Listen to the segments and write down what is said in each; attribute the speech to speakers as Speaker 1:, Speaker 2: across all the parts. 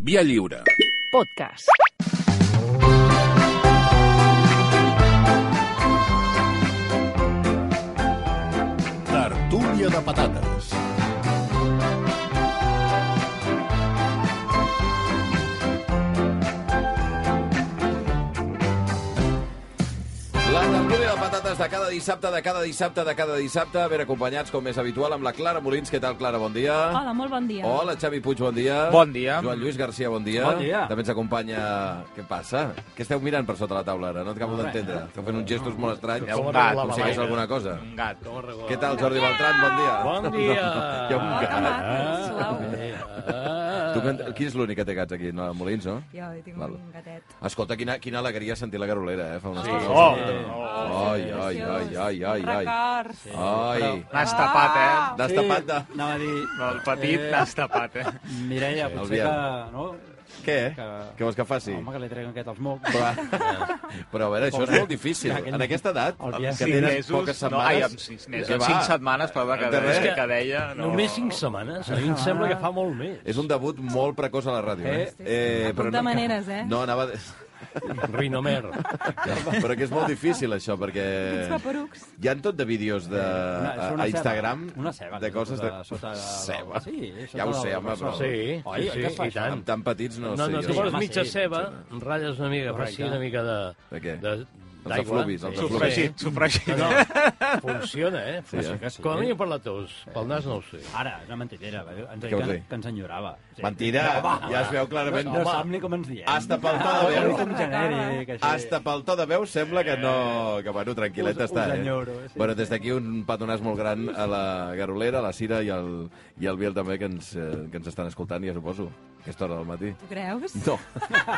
Speaker 1: Via lliure.
Speaker 2: Podcast.
Speaker 1: Tertúlia de patates.
Speaker 3: La tertúlia de patates de cada dissabte, de cada dissabte, de cada dissabte, ben acompanyats, com és habitual, amb la Clara Molins. Què tal, Clara? Bon dia.
Speaker 4: Hola, molt bon dia.
Speaker 3: Ah. Hola, Xavi Puig, bon dia.
Speaker 5: Bon dia.
Speaker 3: Joan Lluís Garcia, bon dia.
Speaker 5: Bon dia.
Speaker 3: També ens acompanya... Què passa? Què esteu mirant per sota la taula ara? No t'acabo d'entendre. Esteu fent uns gestos molt estranys.
Speaker 5: Hi ha un
Speaker 3: Ah,
Speaker 5: gat,
Speaker 3: Com si hi hagués
Speaker 5: un
Speaker 3: alguna cosa.
Speaker 5: Un gat.
Speaker 3: Què tal, Jordi Bertran? Bon dia.
Speaker 5: Bon dia.
Speaker 3: Hi ha un
Speaker 4: Hola,
Speaker 3: gat.
Speaker 4: maco, suau.
Speaker 3: Tu, que- qui és l'únic que té gats aquí? No, Molins, no?
Speaker 4: Jo tinc
Speaker 3: Val.
Speaker 4: un gatet.
Speaker 3: Escolta, quina, quina alegria sentir la garolera, eh? Fa unes
Speaker 4: Sí.
Speaker 3: coses.
Speaker 5: Oh,
Speaker 3: Ai, ai, ai, ai, ai, ai.
Speaker 4: Records.
Speaker 3: Ai,
Speaker 5: L'has tapat, eh?
Speaker 3: destapat de...
Speaker 6: Anava a dir,
Speaker 5: El petit l'has tapat, eh?
Speaker 6: Mireia,
Speaker 3: El
Speaker 6: potser que...
Speaker 3: Biel.
Speaker 6: No?
Speaker 3: Què?
Speaker 6: Que-
Speaker 3: Què vols que faci?
Speaker 6: Home, que li treguen aquest als mocs.
Speaker 3: Però, però a veure, això és molt difícil.
Speaker 6: aquell-
Speaker 3: En aquesta edat,
Speaker 6: el
Speaker 3: que
Speaker 6: dia cinc
Speaker 3: tenen
Speaker 5: mesos,
Speaker 3: poques
Speaker 5: no,
Speaker 3: setmanes...
Speaker 5: ai, amb sis mesos,
Speaker 3: que
Speaker 5: amb
Speaker 3: va,
Speaker 5: cinc setmanes, perdó, que,
Speaker 3: De res.
Speaker 5: és que, que deia... No.
Speaker 7: Només cinc setmanes? A mi em sembla que fa molt més.
Speaker 3: És un debut molt precoç a la ràdio. Eh?
Speaker 6: Eh?
Speaker 3: eh
Speaker 4: Puc de maneres, eh? Ah.
Speaker 3: No, anava... Eh.
Speaker 7: Rinomer.
Speaker 3: però que és molt difícil, això, perquè...
Speaker 4: Ets paperucs.
Speaker 3: Hi ha tot de vídeos de, a,
Speaker 6: Eh, és
Speaker 3: a Instagram
Speaker 6: Ceba, una ceba.
Speaker 3: de
Speaker 6: que
Speaker 3: coses de...
Speaker 6: sota- Sota,
Speaker 3: Ceba.
Speaker 6: Sí, sota
Speaker 3: ja ho sé,
Speaker 6: del-
Speaker 3: home, però...
Speaker 7: Sí, sí,
Speaker 6: Oi, oi
Speaker 7: sí,
Speaker 6: que es fa
Speaker 7: i
Speaker 6: això?
Speaker 7: tant.
Speaker 3: Amb tan petits no,
Speaker 7: No, no,
Speaker 3: sé
Speaker 7: tu
Speaker 3: jo.
Speaker 7: vols
Speaker 6: home,
Speaker 7: mitja
Speaker 6: sí,
Speaker 7: ceba, ratlles una mica,
Speaker 6: Correcte.
Speaker 7: faci una mica de...
Speaker 3: De què?
Speaker 7: de-
Speaker 3: Els efluvis, els
Speaker 7: Sí,
Speaker 3: efluvis.
Speaker 7: sí.
Speaker 5: Sofregit, sofregit.
Speaker 7: No, no, funciona, eh?
Speaker 3: Sí, eh?
Speaker 7: Funciona. Com a mínim per la tos, pel nas no ho sé.
Speaker 6: Ara, és una mentidera. va dir- Ens
Speaker 3: Què
Speaker 6: deia
Speaker 3: vols
Speaker 6: que,
Speaker 3: dir?
Speaker 6: que ens enyorava. Sí.
Speaker 3: Mentida! Ja es veu clarament.
Speaker 6: No sap ni com ens diem.
Speaker 3: Hasta pel to de
Speaker 6: Ah,
Speaker 3: veu.
Speaker 6: és un genèric, així.
Speaker 3: Hasta pel to de veu sembla que no... Que, bueno, tranquil·let
Speaker 6: Us- us
Speaker 3: està, eh?
Speaker 6: enyoro, sí.
Speaker 3: Bueno, des d'aquí un petonàs molt gran a la Garolera, a la Cira i al, i al Biel també, que ens, eh, que ens estan escoltant, ja suposo, a aquesta hora del matí.
Speaker 4: Tu creus?
Speaker 3: No.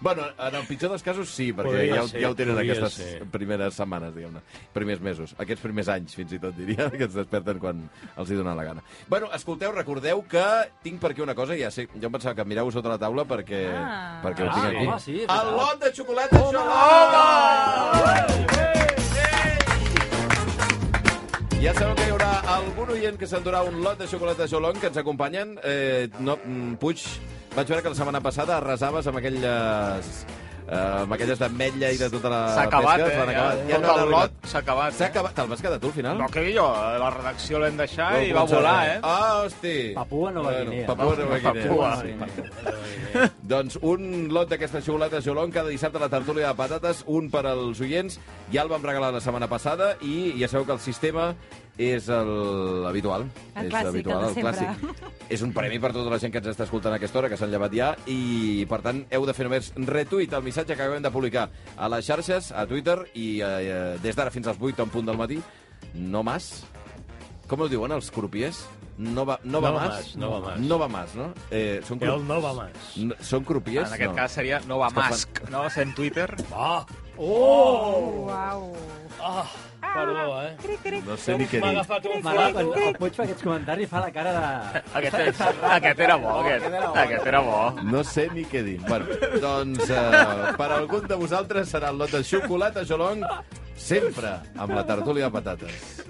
Speaker 3: bueno, en el pitjor dels casos sí, perquè
Speaker 7: Podria
Speaker 3: ja, ho-
Speaker 7: ser,
Speaker 3: ja ho tenen
Speaker 7: podria
Speaker 3: aquestes
Speaker 7: ser.
Speaker 3: primeres setmanes, diguem-ne. Primers mesos, aquests primers anys, fins i tot, diria, que ens desperten quan els hi dona la gana. Bueno, escolteu, recordeu que tinc per aquí una cosa, ja sé, jo em pensava que mireu sota la taula perquè,
Speaker 4: Ah.
Speaker 3: perquè ho
Speaker 6: Ah,
Speaker 3: tinc aquí.
Speaker 6: home, sí, és veritat.
Speaker 3: el lot de xocolates oh, Ja sabeu que hi haurà algun oient que s'endurà un lot de xocolata Jolong que ens acompanyen. Eh, no, mm, Puig, vaig veure que la setmana passada arrasaves amb aquelles... Eh, amb aquelles d'ametlla i de tota la
Speaker 5: S'ha acabat,
Speaker 3: pesca.
Speaker 5: eh?
Speaker 3: s'han
Speaker 5: Ja,
Speaker 3: acabat.
Speaker 5: tot
Speaker 3: no han
Speaker 5: el lot
Speaker 3: arribat.
Speaker 5: s'ha acabat.
Speaker 3: S'ha acabat. Te'l vas quedar tu, al final?
Speaker 5: No, que jo, la redacció l'hem deixat
Speaker 3: No,
Speaker 5: i va
Speaker 3: començar-
Speaker 5: volar, eh?
Speaker 3: Ah, hosti!
Speaker 6: Papua Nova Guinea.
Speaker 3: Papua Nova Guinea.
Speaker 5: Papua.
Speaker 3: Sí, doncs un lot d'aquestes xocolates Jolong cada dissabte a la tertúlia de patates, un per als oients, ja el vam regalar la setmana passada i ja sabeu que el sistema és el habitual.
Speaker 4: El
Speaker 3: és
Speaker 4: clàssic,
Speaker 3: habitual,
Speaker 4: el de sempre.
Speaker 3: clàssic. És un premi per tota la gent que ens està escoltant a aquesta hora, que s'han llevat ja, i per tant heu de fer només retuit el missatge que acabem de publicar a les xarxes, a Twitter, i eh, des d'ara fins als 8 en punt del matí, no mas, com ho diuen els crupiers? No va, no va,
Speaker 7: No va
Speaker 3: mas,
Speaker 7: mas, no va mas.
Speaker 3: No va mas, no? Eh, són cru...
Speaker 7: El no va més.
Speaker 3: No, són crupiers?
Speaker 5: En aquest
Speaker 3: no.
Speaker 5: cas seria Nova
Speaker 3: que fan-
Speaker 5: Mask, no? Sent Twitter.
Speaker 7: Ah,
Speaker 4: Uau.
Speaker 7: ah, perdó, eh?
Speaker 4: Cric, cric.
Speaker 3: No sé ni què
Speaker 7: M'ha
Speaker 3: dir.
Speaker 7: agafat un
Speaker 6: M'agrada
Speaker 7: flac.
Speaker 6: quan el Puig fa aquests comentaris i fa la cara de...
Speaker 5: Aquest, és, aquest era bo, aquest. Aquest era bo.
Speaker 3: No sé ni què dir. Bueno, doncs eh, per algun de vosaltres serà el lot de xocolata Jolong sempre amb la tertúlia de patates.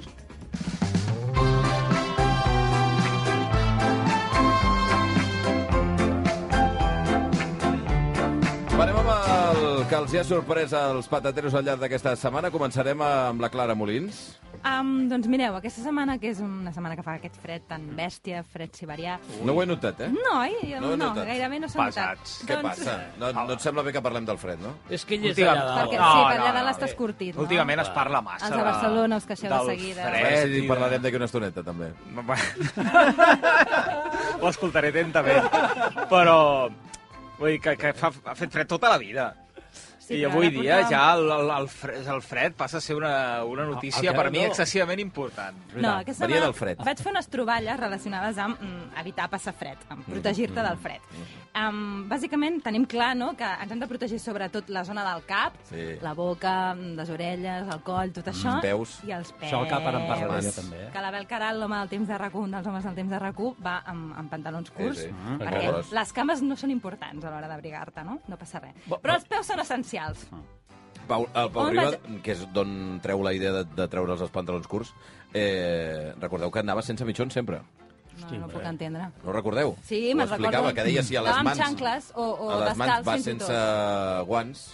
Speaker 3: Parem amb el que els hi ha sorprès als patateros al llarg d'aquesta setmana. Començarem amb la Clara Molins.
Speaker 4: Um, doncs mireu, aquesta setmana, que és una setmana que fa aquest fred tan bèstia, fred siberià...
Speaker 3: No ho he notat, eh?
Speaker 5: Mm.
Speaker 4: No, eh?
Speaker 3: No
Speaker 4: no,
Speaker 3: he
Speaker 4: no
Speaker 3: notat.
Speaker 4: gairebé no s'ha notat. Doncs
Speaker 5: Pesats.
Speaker 3: Què passa? No, no et sembla bé que parlem del fred, no?
Speaker 7: És que ell és
Speaker 5: Últimament-
Speaker 7: allà dalt.
Speaker 4: Perquè,
Speaker 5: No,
Speaker 4: sí, per allà
Speaker 5: no,
Speaker 4: dalt
Speaker 5: no.
Speaker 4: estàs curtit, no?
Speaker 5: Últimament es parla massa.
Speaker 4: Els de Barcelona us queixeu de eh? seguida.
Speaker 3: A veure si
Speaker 5: i
Speaker 3: en
Speaker 5: de-
Speaker 3: parlarem d'aquí una estoneta, també.
Speaker 5: Ho escoltaré atentament. Però vull dir que, que fa, ha fet fred tota la vida. Sí,
Speaker 4: Sí,
Speaker 5: I
Speaker 4: però
Speaker 5: avui
Speaker 4: ara
Speaker 5: dia
Speaker 4: portàvem-
Speaker 5: ja el, el, el, fred, el fred passa a ser una, una notícia
Speaker 7: el que
Speaker 5: per mi
Speaker 7: no.
Speaker 5: excessivament important.
Speaker 4: No, aquesta
Speaker 3: Venia
Speaker 4: setmana
Speaker 3: del fred.
Speaker 4: vaig fer unes troballes relacionades amb mm, evitar passar fred, amb protegir-te del fred. Um, bàsicament tenim clar no, que ens hem de protegir sobretot la zona del cap,
Speaker 3: Sí.
Speaker 4: la boca, mm, les orelles, el coll, tot això.
Speaker 3: peus.
Speaker 4: I els peus.
Speaker 6: Això el cap ara en parlaré jo, també, eh?
Speaker 4: Que l'Abel Caral, l'home del temps de rac un dels homes del temps de rac un, va amb, amb pantalons curts,
Speaker 3: sí.
Speaker 4: perquè
Speaker 3: Mhm.
Speaker 4: les cames no són importants a l'hora d'abrigar-te, no? No passa res. Però els peus són essencials.
Speaker 3: Pau, el Pau
Speaker 4: On
Speaker 3: Riba,
Speaker 4: vaig-
Speaker 3: que és d'on treu la idea de, de treure's els pantalons curts, eh, recordeu que anava sense mitjons sempre.
Speaker 4: No, no ho puc entendre.
Speaker 3: No ho recordeu?
Speaker 4: Sí,
Speaker 3: Ho
Speaker 4: me'n
Speaker 3: explicava,
Speaker 4: recordo.
Speaker 3: que deia si a les
Speaker 4: Va amb
Speaker 3: mans...
Speaker 4: xancles o- o
Speaker 3: a les mans
Speaker 4: descalç
Speaker 3: va
Speaker 4: fins i
Speaker 3: sense guants,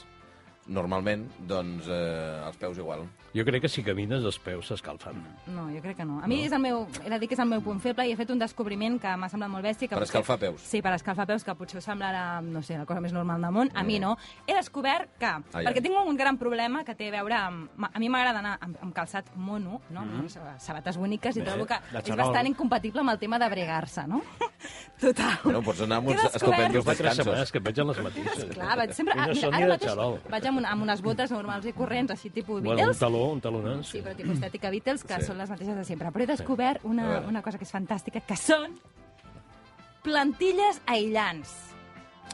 Speaker 3: normalment, doncs eh, els peus igual.
Speaker 7: Jo crec que si camines els peus s'escalfen.
Speaker 3: Mm.
Speaker 4: No, jo crec que no. A mi és el meu, he de dir que és el meu punt feble i he fet un descobriment que m'ha semblat molt bèstia. Que
Speaker 3: Per
Speaker 4: potser-
Speaker 3: escalfar peus.
Speaker 4: Sí, per escalfar peus, que potser us semblarà, no sé, la cosa més normal del món. A mi no. He descobert que,
Speaker 3: Mm. ai.
Speaker 4: perquè tinc un gran problema que té a veure amb... ma- A mi m'agrada anar amb, amb calçat mono, no?
Speaker 7: Mm-hmm.
Speaker 4: Mm -hmm. sabates boniques, i trobo que
Speaker 6: la
Speaker 4: és
Speaker 6: Chanel.
Speaker 4: bastant incompatible amb el tema de bregar-se, no? Total.
Speaker 3: Bueno, pots anar amb
Speaker 4: He
Speaker 3: uns
Speaker 4: descobert-
Speaker 3: escopendis
Speaker 7: Fa tres setmanes
Speaker 3: descansos.
Speaker 7: que et veig en les matisses.
Speaker 4: Clar, vaig sempre...
Speaker 7: I no
Speaker 4: mira,
Speaker 7: són
Speaker 4: ara
Speaker 7: ni de
Speaker 4: mateix
Speaker 7: xarol.
Speaker 4: Vaig amb, una, amb unes botes normals i corrents, així tipus
Speaker 7: Bueno, un
Speaker 4: Beatles,
Speaker 7: taló, un talonant.
Speaker 4: Sí, però tipus estètica Beatles, que
Speaker 3: Sí.
Speaker 4: sí. són les mateixes de sempre. Però he descobert
Speaker 3: A
Speaker 4: una,
Speaker 3: veure.
Speaker 4: una cosa que és fantàstica, que són plantilles aïllants,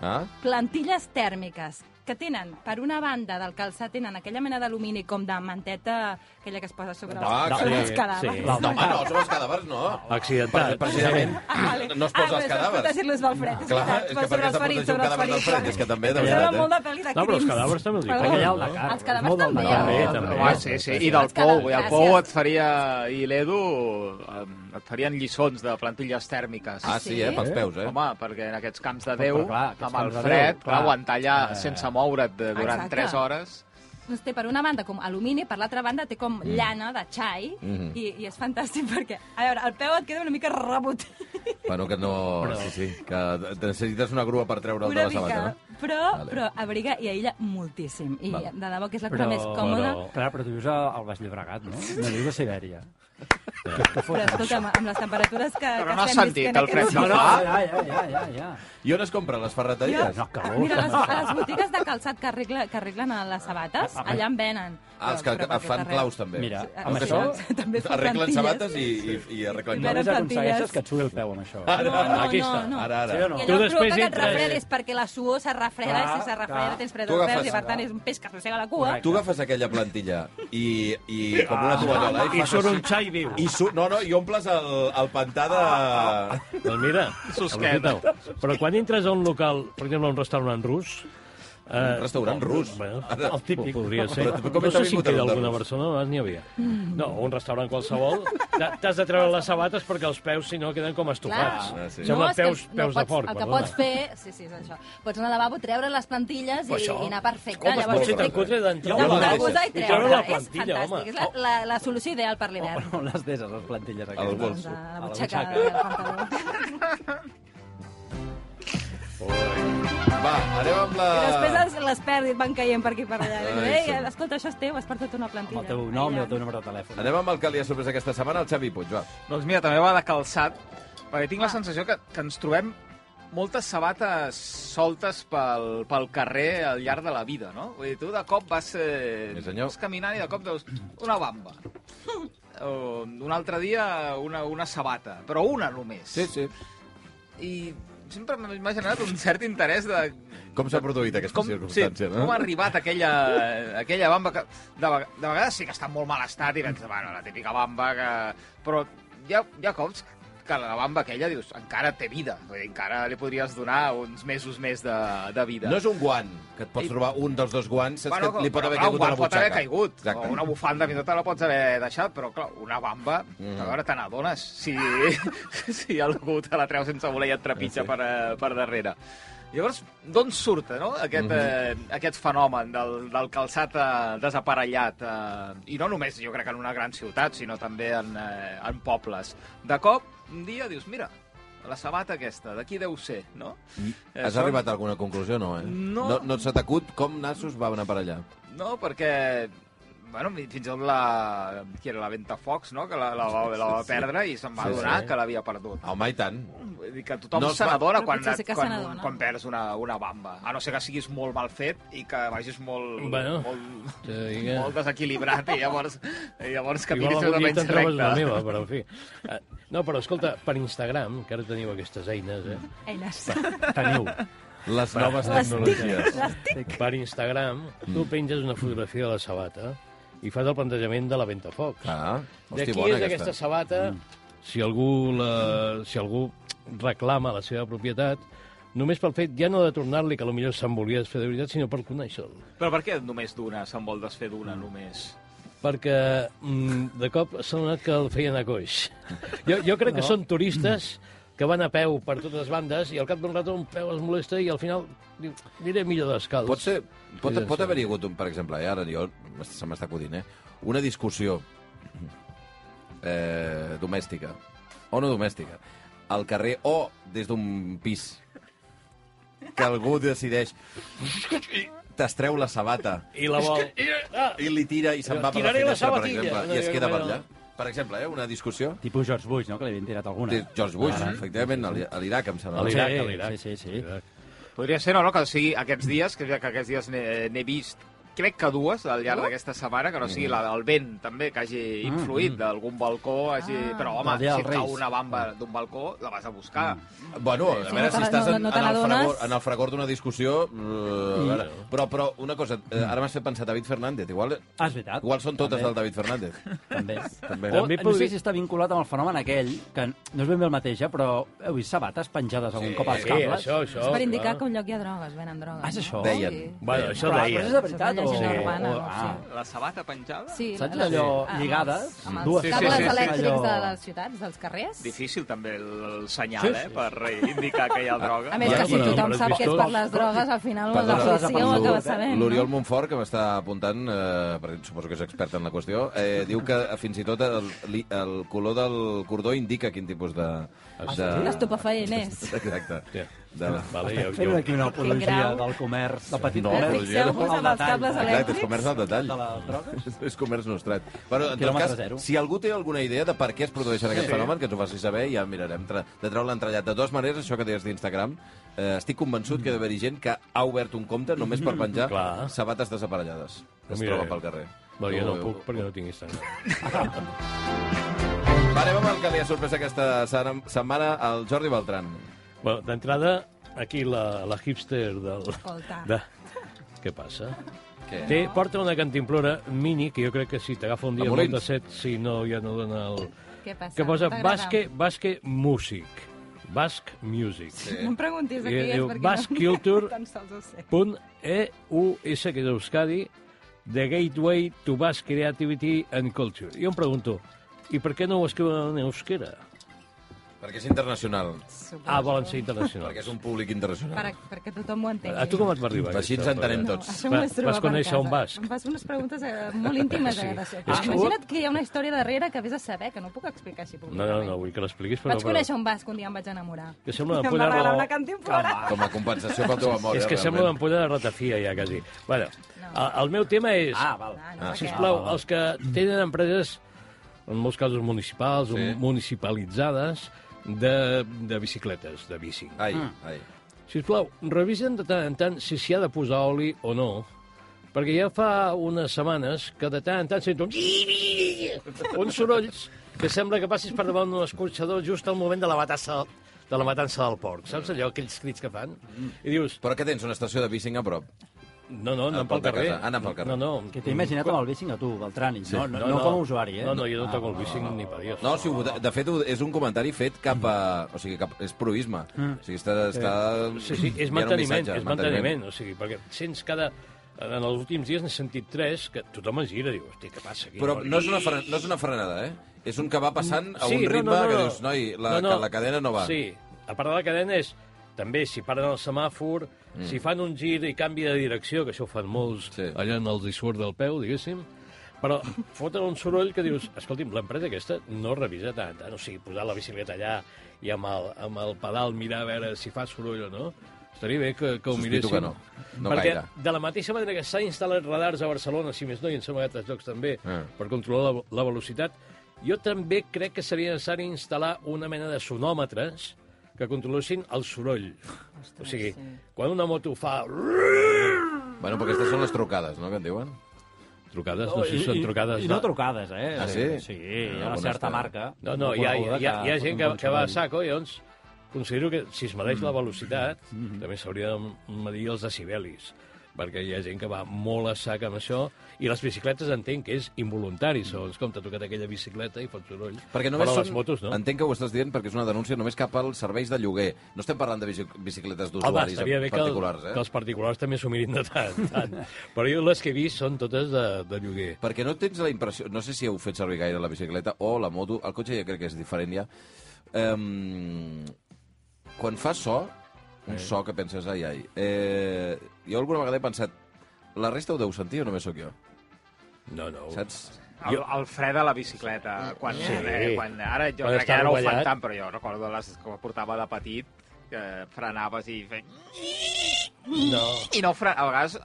Speaker 3: Ah?
Speaker 4: plantilles tèrmiques, que tenen, per una banda del calçat, tenen aquella mena d'alumini com de manteta, aquella que es posa sobre,
Speaker 3: Ah,
Speaker 4: els, sobre
Speaker 7: sí,
Speaker 4: els cadàvers.
Speaker 7: sí.
Speaker 3: No, home, no, sobre els cadàvers no.
Speaker 7: Accidentat.
Speaker 3: Precisament,
Speaker 4: Ah, vale.
Speaker 3: no es posa
Speaker 4: ah,
Speaker 3: els
Speaker 4: cadàvers.
Speaker 3: cadàvers.
Speaker 4: protegir-los del fred. és
Speaker 3: Clar,
Speaker 4: veritat,
Speaker 3: és que
Speaker 4: però sobre
Speaker 3: perquè s'ha
Speaker 4: els ferits,
Speaker 3: protegit un
Speaker 4: sobre els
Speaker 3: cadàver del
Speaker 4: ferits.
Speaker 3: fred, és que també, de
Speaker 4: Em sembla
Speaker 3: veritat, eh?
Speaker 4: molt de pel·li de
Speaker 7: No, però els
Speaker 4: crims.
Speaker 7: cadàvers també els hi
Speaker 4: Perdó.
Speaker 7: posen.
Speaker 6: la cara.
Speaker 4: Els cadàvers
Speaker 6: Molt del
Speaker 4: també. eh?
Speaker 6: cara.
Speaker 7: També, també.
Speaker 1: Ah, sí, sí. I del
Speaker 4: Els cadàvers,
Speaker 1: Pou. I el
Speaker 4: gràcies.
Speaker 1: Pou et faria, i l'Edu, em, et farien lliçons de plantilles tèrmiques.
Speaker 3: Ah, sí, eh? Pels peus, eh?
Speaker 1: Home, perquè en aquests camps de
Speaker 6: Però,
Speaker 1: Déu,
Speaker 6: però, clar, aquests
Speaker 1: amb el
Speaker 6: camps de
Speaker 1: fred,
Speaker 6: Déu,
Speaker 1: clar,
Speaker 6: clar.
Speaker 1: aguantar allà
Speaker 6: Eh.
Speaker 1: sense moure't eh, durant
Speaker 4: Exacte.
Speaker 1: 3 hores...
Speaker 4: Doncs té per una banda com alumini, per l'altra banda té com
Speaker 3: Mm.
Speaker 4: llana de xai,
Speaker 3: Mm-hmm.
Speaker 4: i, i és fantàstic perquè, a veure, el peu et queda una mica rebut.
Speaker 3: Bueno, que no... Sí, sí, que necessites una grua per treure'l de
Speaker 4: Una
Speaker 3: la sabata,
Speaker 4: mica,
Speaker 3: no?
Speaker 4: però,
Speaker 3: Vale.
Speaker 4: però abriga i aïlla moltíssim. I
Speaker 3: Vale.
Speaker 4: de debò que és la cosa
Speaker 6: Però,
Speaker 4: més còmoda.
Speaker 7: però-
Speaker 6: Clar, però tu vius a- al Baix Llobregat, no? No vius a Sibèria.
Speaker 4: Però, escolta'm, amb les temperatures que,
Speaker 1: Però
Speaker 4: que
Speaker 1: no has
Speaker 4: estem
Speaker 1: sentit
Speaker 4: visquent
Speaker 1: el fred
Speaker 4: aquests
Speaker 1: que
Speaker 4: dies-
Speaker 1: fa?
Speaker 6: ja, ja, ja, ja, ja.
Speaker 3: I on es compren les ferreteries?
Speaker 6: No,
Speaker 4: Ah,
Speaker 6: calor.
Speaker 4: Mira, les, a les botigues de calçat que, arregla, que arreglen a les sabates,
Speaker 1: ah,
Speaker 4: allà en venen.
Speaker 3: Ah, els que
Speaker 4: Però- però
Speaker 3: fan
Speaker 4: perquè
Speaker 3: claus, també.
Speaker 6: Mira,
Speaker 4: Ah,
Speaker 6: amb
Speaker 4: sí,
Speaker 6: això
Speaker 4: sí, també fan
Speaker 3: Arreglen
Speaker 4: plantilles.
Speaker 3: sabates i, i, i arreglen
Speaker 4: Mira,
Speaker 3: claus.
Speaker 6: només
Speaker 4: plantilles.
Speaker 6: aconsegueixes que et suri el peu amb això. eh?
Speaker 4: No, no,
Speaker 7: Aquí
Speaker 4: no,
Speaker 7: està.
Speaker 4: no.
Speaker 3: Ara,
Speaker 6: Sí o
Speaker 3: ara.
Speaker 6: no?
Speaker 4: I
Speaker 7: Tu
Speaker 4: allò
Speaker 7: després
Speaker 4: provoca que et
Speaker 7: entres-
Speaker 4: refredis, perquè la suor se refreda,
Speaker 6: Clar,
Speaker 4: i si se refreda
Speaker 6: clar.
Speaker 4: tens
Speaker 3: Tu
Speaker 4: predor
Speaker 3: agafes-
Speaker 4: verd, i per tant és un peix que s'arrossega la cua.
Speaker 3: Tu agafes aquella plantilla i, i com
Speaker 6: Ah.
Speaker 3: una tovallola eh, i
Speaker 7: I
Speaker 3: fas
Speaker 7: surt un
Speaker 3: així.
Speaker 7: xai viu.
Speaker 3: I su... No, no, i omples el, el pantà de...
Speaker 4: Ah.
Speaker 7: Doncs mira,
Speaker 1: Susqueda.
Speaker 7: aprofiteu. Però quan entres a un local, per exemple, a un restaurant rus... Eh,
Speaker 3: Un restaurant rus?
Speaker 7: Bueno,
Speaker 3: Ara-
Speaker 7: el típic. Podria ser.
Speaker 3: Però com
Speaker 7: no
Speaker 3: t'ha
Speaker 7: sé si en
Speaker 3: vingut el
Speaker 7: queda
Speaker 3: de
Speaker 7: alguna
Speaker 3: rus?
Speaker 7: persona, abans n'hi havia. No, un restaurant qualsevol. T'ha- T'has de treure les sabates perquè els peus, si no, queden com estofats.
Speaker 3: Ah, sí.
Speaker 7: Sembla
Speaker 4: és que
Speaker 7: peus,
Speaker 4: no pots,
Speaker 7: peus de porc,
Speaker 4: El que
Speaker 7: perdona.
Speaker 4: pots fer... Sí, sí, és això. Pots anar al lavabo, treure les plantilles i,
Speaker 7: Això.
Speaker 4: i anar perfecte.
Speaker 7: Com es pot ser tan cutre
Speaker 4: de
Speaker 7: d'entrada?
Speaker 3: Jo la deixo.
Speaker 4: posar i
Speaker 7: I
Speaker 4: treure.
Speaker 7: treure la
Speaker 4: és
Speaker 7: plantilla,
Speaker 4: fantàstic.
Speaker 7: home.
Speaker 4: És la, la, la solució ideal per l'hivern.
Speaker 6: On les deses, les plantilles
Speaker 3: Al
Speaker 6: aquestes?
Speaker 3: bolso.
Speaker 4: Doncs a la
Speaker 6: Oh. A la
Speaker 4: butxaca
Speaker 6: butxaca.
Speaker 4: del pantaló.
Speaker 3: Va, anem amb la...
Speaker 4: I després les, les perds van caient per aquí per allà.
Speaker 3: Ah. Ai,
Speaker 4: Ei,
Speaker 3: sí.
Speaker 4: escolta, això és teu, has perdut una plantilla.
Speaker 6: Amb el teu nom i el teu número de telèfon.
Speaker 3: Anem amb el que li ha sorprès aquesta setmana, el Xavi Puig, va.
Speaker 1: Doncs mira, també va de calçat, perquè tinc la sensació que, que ens trobem moltes sabates soltes pel, pel carrer al llarg de la vida, no? Vull dir, tu de cop vas, eh,
Speaker 3: Sí, senyor.
Speaker 1: vas caminant i de cop veus una bamba. O, un altre dia una, una sabata, però una només.
Speaker 3: Sí, sí.
Speaker 1: I sempre m'ha generat un cert interès de...
Speaker 3: Com s'ha produït aquesta
Speaker 1: Com, sí,
Speaker 3: circumstància, no?
Speaker 1: com ha arribat aquella, aquella bamba que de, vega- de vegades sí que està en molt mal estat i penses, bueno, la típica bamba que... Però hi ha, hi ha cops que la bamba aquella dius, encara té vida, vull dir, encara li podries donar uns mesos més de, de vida.
Speaker 3: No és un guant, que et pots trobar un dels dos guants, saps que li pot haver
Speaker 1: però, clar,
Speaker 3: caigut
Speaker 1: un
Speaker 3: a
Speaker 1: guant
Speaker 3: la
Speaker 1: pot
Speaker 3: butxaca.
Speaker 1: haver caigut.
Speaker 3: Exacte.
Speaker 1: O una bufanda fins i tot la pots haver deixat, però clar, una bamba,
Speaker 3: Mm.
Speaker 1: mm. a veure, te n'adones si, si algú te la treu sense voler i et trepitja
Speaker 3: Ah, Sí.
Speaker 1: sí. per, eh, per darrere. Llavors, d'on surt no? aquest, mm
Speaker 3: Mhm.
Speaker 1: -hmm. eh, aquest fenomen del, del calçat eh, desaparellat? Eh, I no només, jo crec, en una gran ciutat, sinó també en, eh, en pobles. De cop, un dia dius, mira, la sabata aquesta, de qui deu ser, no? Eh,
Speaker 3: Mm. Has
Speaker 1: són-
Speaker 3: arribat a alguna conclusió, no, eh?
Speaker 1: No.
Speaker 3: No, no et s'ha tacut com nassos va anar per allà.
Speaker 1: No, perquè... Bueno, fins i tot la... Qui era la Ventafocs, no? Que la, la, va, la va perdre i se'n va
Speaker 3: Sí,
Speaker 1: sí, adonar
Speaker 7: sí.
Speaker 1: sí. que l'havia perdut.
Speaker 3: Home, i tant.
Speaker 1: Vull dir que tothom
Speaker 3: No
Speaker 1: no
Speaker 3: es
Speaker 1: se
Speaker 3: va-
Speaker 1: n'adona
Speaker 4: Però
Speaker 1: quan,
Speaker 4: potser sí que se
Speaker 1: quan,
Speaker 4: n'adona.
Speaker 1: quan perds una, una bamba. A no ser que siguis molt mal fet i que vagis molt,
Speaker 7: Bueno,
Speaker 1: molt,
Speaker 7: te digue.
Speaker 1: molt desequilibrat i llavors, i llavors
Speaker 7: Igual
Speaker 1: caminis una
Speaker 7: algun dia te'n
Speaker 1: menys
Speaker 7: trobes
Speaker 1: recte.
Speaker 7: la meva, però en fi. Eh, No, però escolta, per Instagram, que ara teniu aquestes eines, eh?
Speaker 4: Eines.
Speaker 7: Teniu.
Speaker 3: Les noves
Speaker 4: les
Speaker 3: tecnologies.
Speaker 7: Per Instagram,
Speaker 3: Mm.
Speaker 7: tu penges una fotografia de la sabata i fas el plantejament de la Ventafocs.
Speaker 3: Ah,
Speaker 7: de
Speaker 3: hosti,
Speaker 7: qui
Speaker 3: bona
Speaker 7: és aquesta
Speaker 3: aquesta. Mm.
Speaker 7: sabata? Si algú, la, si algú reclama la seva propietat, només pel fet ja no de tornar-li, que potser se'n volia desfer de veritat, sinó per conèixer-lo.
Speaker 1: Però per què només d'una se'n vol desfer d'una només?
Speaker 7: perquè mm, de cop s'ha donat que el feien a coix. Jo, jo crec no. que són turistes que van a peu per totes bandes i al cap d'un rato un peu es molesta i al final diu, aniré millor descalç.
Speaker 3: Pot ser... Pot,
Speaker 7: Sí,
Speaker 3: pot
Speaker 7: sí.
Speaker 3: haver-hi hagut, un, per exemple, eh, ara jo, se m'està acudint, eh, una discussió eh, domèstica, o no domèstica, al carrer o des d'un pis, que algú decideix... T'estreu la sabata
Speaker 7: I la vol... ah.
Speaker 3: i li tira i se'n va per la
Speaker 7: Tiraré la
Speaker 3: finestra, per
Speaker 7: sabatilla.
Speaker 3: exemple,
Speaker 7: No,
Speaker 3: i es
Speaker 7: jo
Speaker 3: queda
Speaker 7: crec
Speaker 3: per
Speaker 7: que no.
Speaker 3: allà. Per exemple, eh, una discussió...
Speaker 6: Tipus George Bush, no?, que li havien tirat alguna.
Speaker 3: Té George Bush, efectivament, a l'I- a l'Iraq, em sembla.
Speaker 7: A l'Iraq.
Speaker 6: Sí,
Speaker 7: l'Iraq.
Speaker 6: Sí, sí, sí.
Speaker 1: Podria ser, no, no, que sigui aquests dies, que, que aquests dies n'he n'he vist crec que dues al llarg d'aquesta setmana, que no Mm. sigui la del vent, també, que hagi influït d'algun balcó, hagi... però, home,
Speaker 6: del dia
Speaker 1: si
Speaker 6: dels
Speaker 1: et cau
Speaker 6: Reis.
Speaker 1: una bamba d'un balcó, la vas a buscar.
Speaker 3: Bueno, a veure
Speaker 4: te
Speaker 3: si
Speaker 4: la-
Speaker 3: estàs
Speaker 4: no-
Speaker 3: en,
Speaker 4: no te
Speaker 3: en, el
Speaker 4: l'adones.
Speaker 3: fragor, en el fragor d'una discussió... eh, a veure, però, però una cosa, eh,
Speaker 7: Mm.
Speaker 3: ara m'has fet pensar David Fernández. Igual,
Speaker 6: Ah, és veritat.
Speaker 3: igual són totes
Speaker 6: També.
Speaker 3: del David Fernández.
Speaker 6: També.
Speaker 3: També.
Speaker 6: O,
Speaker 7: També
Speaker 6: no
Speaker 7: podria-
Speaker 6: sé si està vinculat amb el fenomen aquell, que no és ben bé el mateix, eh, però heu vist sabates penjades algun
Speaker 3: Sí,
Speaker 6: cop als
Speaker 7: Sí,
Speaker 6: cables?
Speaker 7: això, això.
Speaker 4: És per indicar
Speaker 7: clar.
Speaker 4: que a un lloc hi ha drogues, venen drogues.
Speaker 6: Ah, és això?
Speaker 3: Deien.
Speaker 7: Bueno, això
Speaker 6: Però,
Speaker 7: deia.
Speaker 6: però és de veritat?
Speaker 4: Això és una
Speaker 6: o-
Speaker 4: urbana,
Speaker 6: o-
Speaker 4: no ho sé.
Speaker 6: ah.
Speaker 5: La sabata penjada?
Speaker 4: Sí,
Speaker 6: Saps
Speaker 4: les-
Speaker 6: allò,
Speaker 4: amb els-
Speaker 6: lligades?
Speaker 4: Amb els
Speaker 6: Dues
Speaker 4: sí,
Speaker 5: sí,
Speaker 4: cables
Speaker 5: sí, sí, sí.
Speaker 4: elèctrics
Speaker 6: Allò-
Speaker 4: de les ciutats, dels carrers.
Speaker 1: Difícil, també, el, el senyal, sí, sí, eh, per indicar que hi ha droga.
Speaker 4: A més,
Speaker 7: Bueno,
Speaker 4: que si
Speaker 7: però-
Speaker 4: tothom
Speaker 7: però
Speaker 4: sap
Speaker 7: has
Speaker 4: que és
Speaker 7: vist
Speaker 4: per
Speaker 7: tot?
Speaker 4: les drogues, al final una
Speaker 3: Perdona.
Speaker 4: depressió ho
Speaker 6: L'Oriol-
Speaker 4: acaba sabent. no?
Speaker 3: L'Oriol Montfort, que m'està apuntant, eh, perquè suposo que és expert en la qüestió, eh, diu que eh, fins i tot el, li- el color del cordó indica quin tipus de...
Speaker 4: Ah,
Speaker 3: de...
Speaker 4: Estupefaent és.
Speaker 3: Exacte.
Speaker 7: Sí.
Speaker 3: De...
Speaker 7: Vale, jo,
Speaker 6: Estem fent
Speaker 7: jo,
Speaker 6: aquí una apologia
Speaker 4: grau.
Speaker 6: del comerç, del petit
Speaker 3: No,
Speaker 4: Ara
Speaker 3: però
Speaker 6: comerç.
Speaker 3: apologia
Speaker 4: Fixeu-vos
Speaker 6: del-
Speaker 4: amb els cables
Speaker 6: Exacte,
Speaker 3: Exacte, és
Speaker 4: elèctrics.
Speaker 3: comerç al detall.
Speaker 6: De la droga?
Speaker 3: És comerç nostrat. Bueno, en tot
Speaker 6: Quilòmetre
Speaker 3: cas,
Speaker 6: zero.
Speaker 3: si algú té alguna idea de per què es produeixen aquests fenòmens, que ens ho faci saber i ja mirarem tra- de treure l'entrellat. De totes maneres, això que deies d'Instagram, eh, estic convençut que hi ha d'haver gent que ha obert un compte només per penjar
Speaker 7: Clar. Doncs
Speaker 3: sabates desaparellades. que Es
Speaker 7: Mira,
Speaker 3: troba pel carrer.
Speaker 7: no, jo no
Speaker 3: Tu-
Speaker 7: puc perquè no tinc Instagram.
Speaker 3: Va, anem amb el que li ha sorprès aquesta sana- setmana al Jordi Beltran.
Speaker 7: Bueno, d'entrada, aquí la, la hipster del...
Speaker 4: Escolta.
Speaker 7: De... Què passa?
Speaker 3: Què?
Speaker 7: Té, porta una cantimplora mini, que jo crec que si t'agafa un dia
Speaker 3: A
Speaker 7: molt de
Speaker 3: Molins.
Speaker 7: set, si no, ja no dona el...
Speaker 4: Què passa?
Speaker 7: Que posa
Speaker 4: T'agrada?
Speaker 7: basque, basque music. Basque music. Sí.
Speaker 4: No em preguntis aquí,
Speaker 7: Eh,
Speaker 4: és
Speaker 7: diu,
Speaker 4: perquè
Speaker 7: Basque
Speaker 4: no-
Speaker 7: Culture.
Speaker 4: tan sols ho sé.
Speaker 7: Punt EUS, que és Euskadi, The Gateway to Basque Creativity and Culture. Jo em pregunto, i per què no ho escriuen en euskera?
Speaker 3: Perquè és internacional.
Speaker 4: Suposo.
Speaker 7: Ah, volen ser
Speaker 3: Doncs. Perquè és
Speaker 7: internacionals.
Speaker 3: un públic internacional.
Speaker 4: Per, perquè tothom ho entengui.
Speaker 7: A tu com et va arribar?
Speaker 3: Així ens
Speaker 7: aquesta?
Speaker 3: entenem
Speaker 4: No,
Speaker 3: tots.
Speaker 4: això m'ho vaig
Speaker 7: Vas-
Speaker 4: trobar
Speaker 7: vas
Speaker 4: per
Speaker 7: conèixer
Speaker 4: casa.
Speaker 7: un basc.
Speaker 4: Em fas unes preguntes eh, molt íntimes.
Speaker 7: Sí.
Speaker 4: sí.
Speaker 7: És que-
Speaker 4: Imagina't que hi ha una història darrere que vés a saber, que no puc explicar així
Speaker 7: No,
Speaker 4: públicament.
Speaker 7: no, no, vull que l'expliquis, però...
Speaker 4: Vaig conèixer un basc un dia, em vaig enamorar.
Speaker 7: Que sembla una
Speaker 4: I em
Speaker 7: polla
Speaker 4: va regalar
Speaker 7: raó.
Speaker 4: una
Speaker 7: Ah,
Speaker 4: cantimplora.
Speaker 3: Com a compensació pel teu amor.
Speaker 7: És
Speaker 3: eh,
Speaker 7: que sembla una
Speaker 3: realment.
Speaker 7: ampolla de ratafia, ja, quasi. Bueno, el, el meu tema és...
Speaker 6: Ah, val.
Speaker 4: Ah,
Speaker 3: Ah,
Speaker 4: no sé què.
Speaker 7: Sisplau, els que tenen empreses, en molts casos municipals sí.
Speaker 3: Sí.
Speaker 7: o municipalitzades, de, de bicicletes, de bici. Ah.
Speaker 3: Ai, ai.
Speaker 7: Sisplau, revisen de tant en tant si s'hi ha de posar oli o no, perquè ja fa unes setmanes que de tant en tant sento un- uns sorolls que sembla que passis per davant d'un escorxador just al moment de la matança de la matança del porc. Saps allò, aquells crits que fan? I dius,
Speaker 3: Però què tens, una estació de bicing a prop?
Speaker 7: no, no, anant
Speaker 3: pel
Speaker 7: pel
Speaker 3: de
Speaker 7: carrer.
Speaker 3: casa, anant pel carrer.
Speaker 7: No, no.
Speaker 6: Que t'he imaginat amb el bicing a tu, Beltrani, no, no, no, com a usuari, eh?
Speaker 7: No, no, jo no toco el bicing ni per Dios.
Speaker 3: No, si ho, de, de fet, ho- és un comentari fet cap a... O sigui, cap, és proisme. O sigui, està... està
Speaker 7: Mm. Sí, sí, és
Speaker 3: enviant un
Speaker 7: manteniment,
Speaker 3: missatge,
Speaker 7: és manteniment, o sigui, perquè sents cada... En els últims dies n'he sentit tres que tothom es gira i diu, hosti, què passa aquí?
Speaker 3: Però no és, una fre, no és una frenada, eh? És un que va passant a un ritme que dius, noi, la, que la cadena no va.
Speaker 7: Sí, a part de la cadena és també si paren el semàfor, mm. si fan un gir i canvi de direcció, que això ho fan molts
Speaker 3: Sí.
Speaker 7: sí. allà en el dissort del peu, diguéssim, però foten un soroll que dius, escolti'm, l'empresa aquesta no revisa tant, en tant, o sigui, posar la bicicleta allà i amb el, amb el pedal mirar a veure si fa soroll o no, estaria bé que, que ho
Speaker 3: Sospito
Speaker 7: miréssim.
Speaker 3: que no. No
Speaker 7: Perquè
Speaker 3: gaire.
Speaker 7: de la mateixa manera que s'han instal·lat radars a Barcelona, si més no, i en sembla altres llocs també,
Speaker 3: Ah.
Speaker 7: per controlar la, la velocitat, jo també crec que seria necessari instal·lar una mena de sonòmetres que controlessin el soroll. Ostres, o sigui, sí. quan una moto fa...
Speaker 3: Bueno, perquè aquestes són les trucades, no?, que en diuen.
Speaker 7: Trucades, no, sé si són trucades...
Speaker 6: I, i no trucades, eh?
Speaker 3: Ah, sí?
Speaker 6: Sí,
Speaker 3: Ah,
Speaker 6: hi ha
Speaker 3: alguna
Speaker 6: una certa
Speaker 3: està.
Speaker 6: marca.
Speaker 7: No, no, hi ha, hi ha, hi ha, hi ha gent que, que va a
Speaker 6: sac.
Speaker 7: saco i llavors
Speaker 3: Mm. Mm-hmm.
Speaker 7: considero que si es medeix la velocitat també s'hauria de medir els decibelis. perquè hi ha gent que va molt a sac amb això, i les bicicletes entenc que és involuntari, segons com t'ha tocat aquella bicicleta i fots soroll.
Speaker 3: Mm. Perquè només
Speaker 7: Però
Speaker 3: són...
Speaker 7: les motos, no?
Speaker 3: Entenc que ho estàs dient perquè és una denúncia només cap als serveis de lloguer. No estem parlant de bici- bicicletes
Speaker 7: Home,
Speaker 3: d'usuaris
Speaker 7: estaria bé que, el,
Speaker 3: particulars, eh?
Speaker 7: que els particulars també s'ho mirin de tant, en tant. Però jo les que he vist són totes de, de lloguer.
Speaker 3: Perquè no tens la impressió... No sé si heu fet servir gaire la bicicleta o la moto. El cotxe ja crec que és diferent, ja. Um, quan fa so, un so que penses, ai, ai... Eh, jo alguna vegada he pensat, la resta ho deu sentir o només sóc jo?
Speaker 7: No, no.
Speaker 3: Saps?
Speaker 1: El, el fre de la bicicleta. Quan, sí. eh, quan, ara jo
Speaker 7: Quan
Speaker 1: crec que
Speaker 7: està
Speaker 1: ara ho fan
Speaker 7: rovellat.
Speaker 1: tant, però jo recordo les que portava de petit, que frenaves i feies...
Speaker 7: No.
Speaker 1: I no fre... a vegades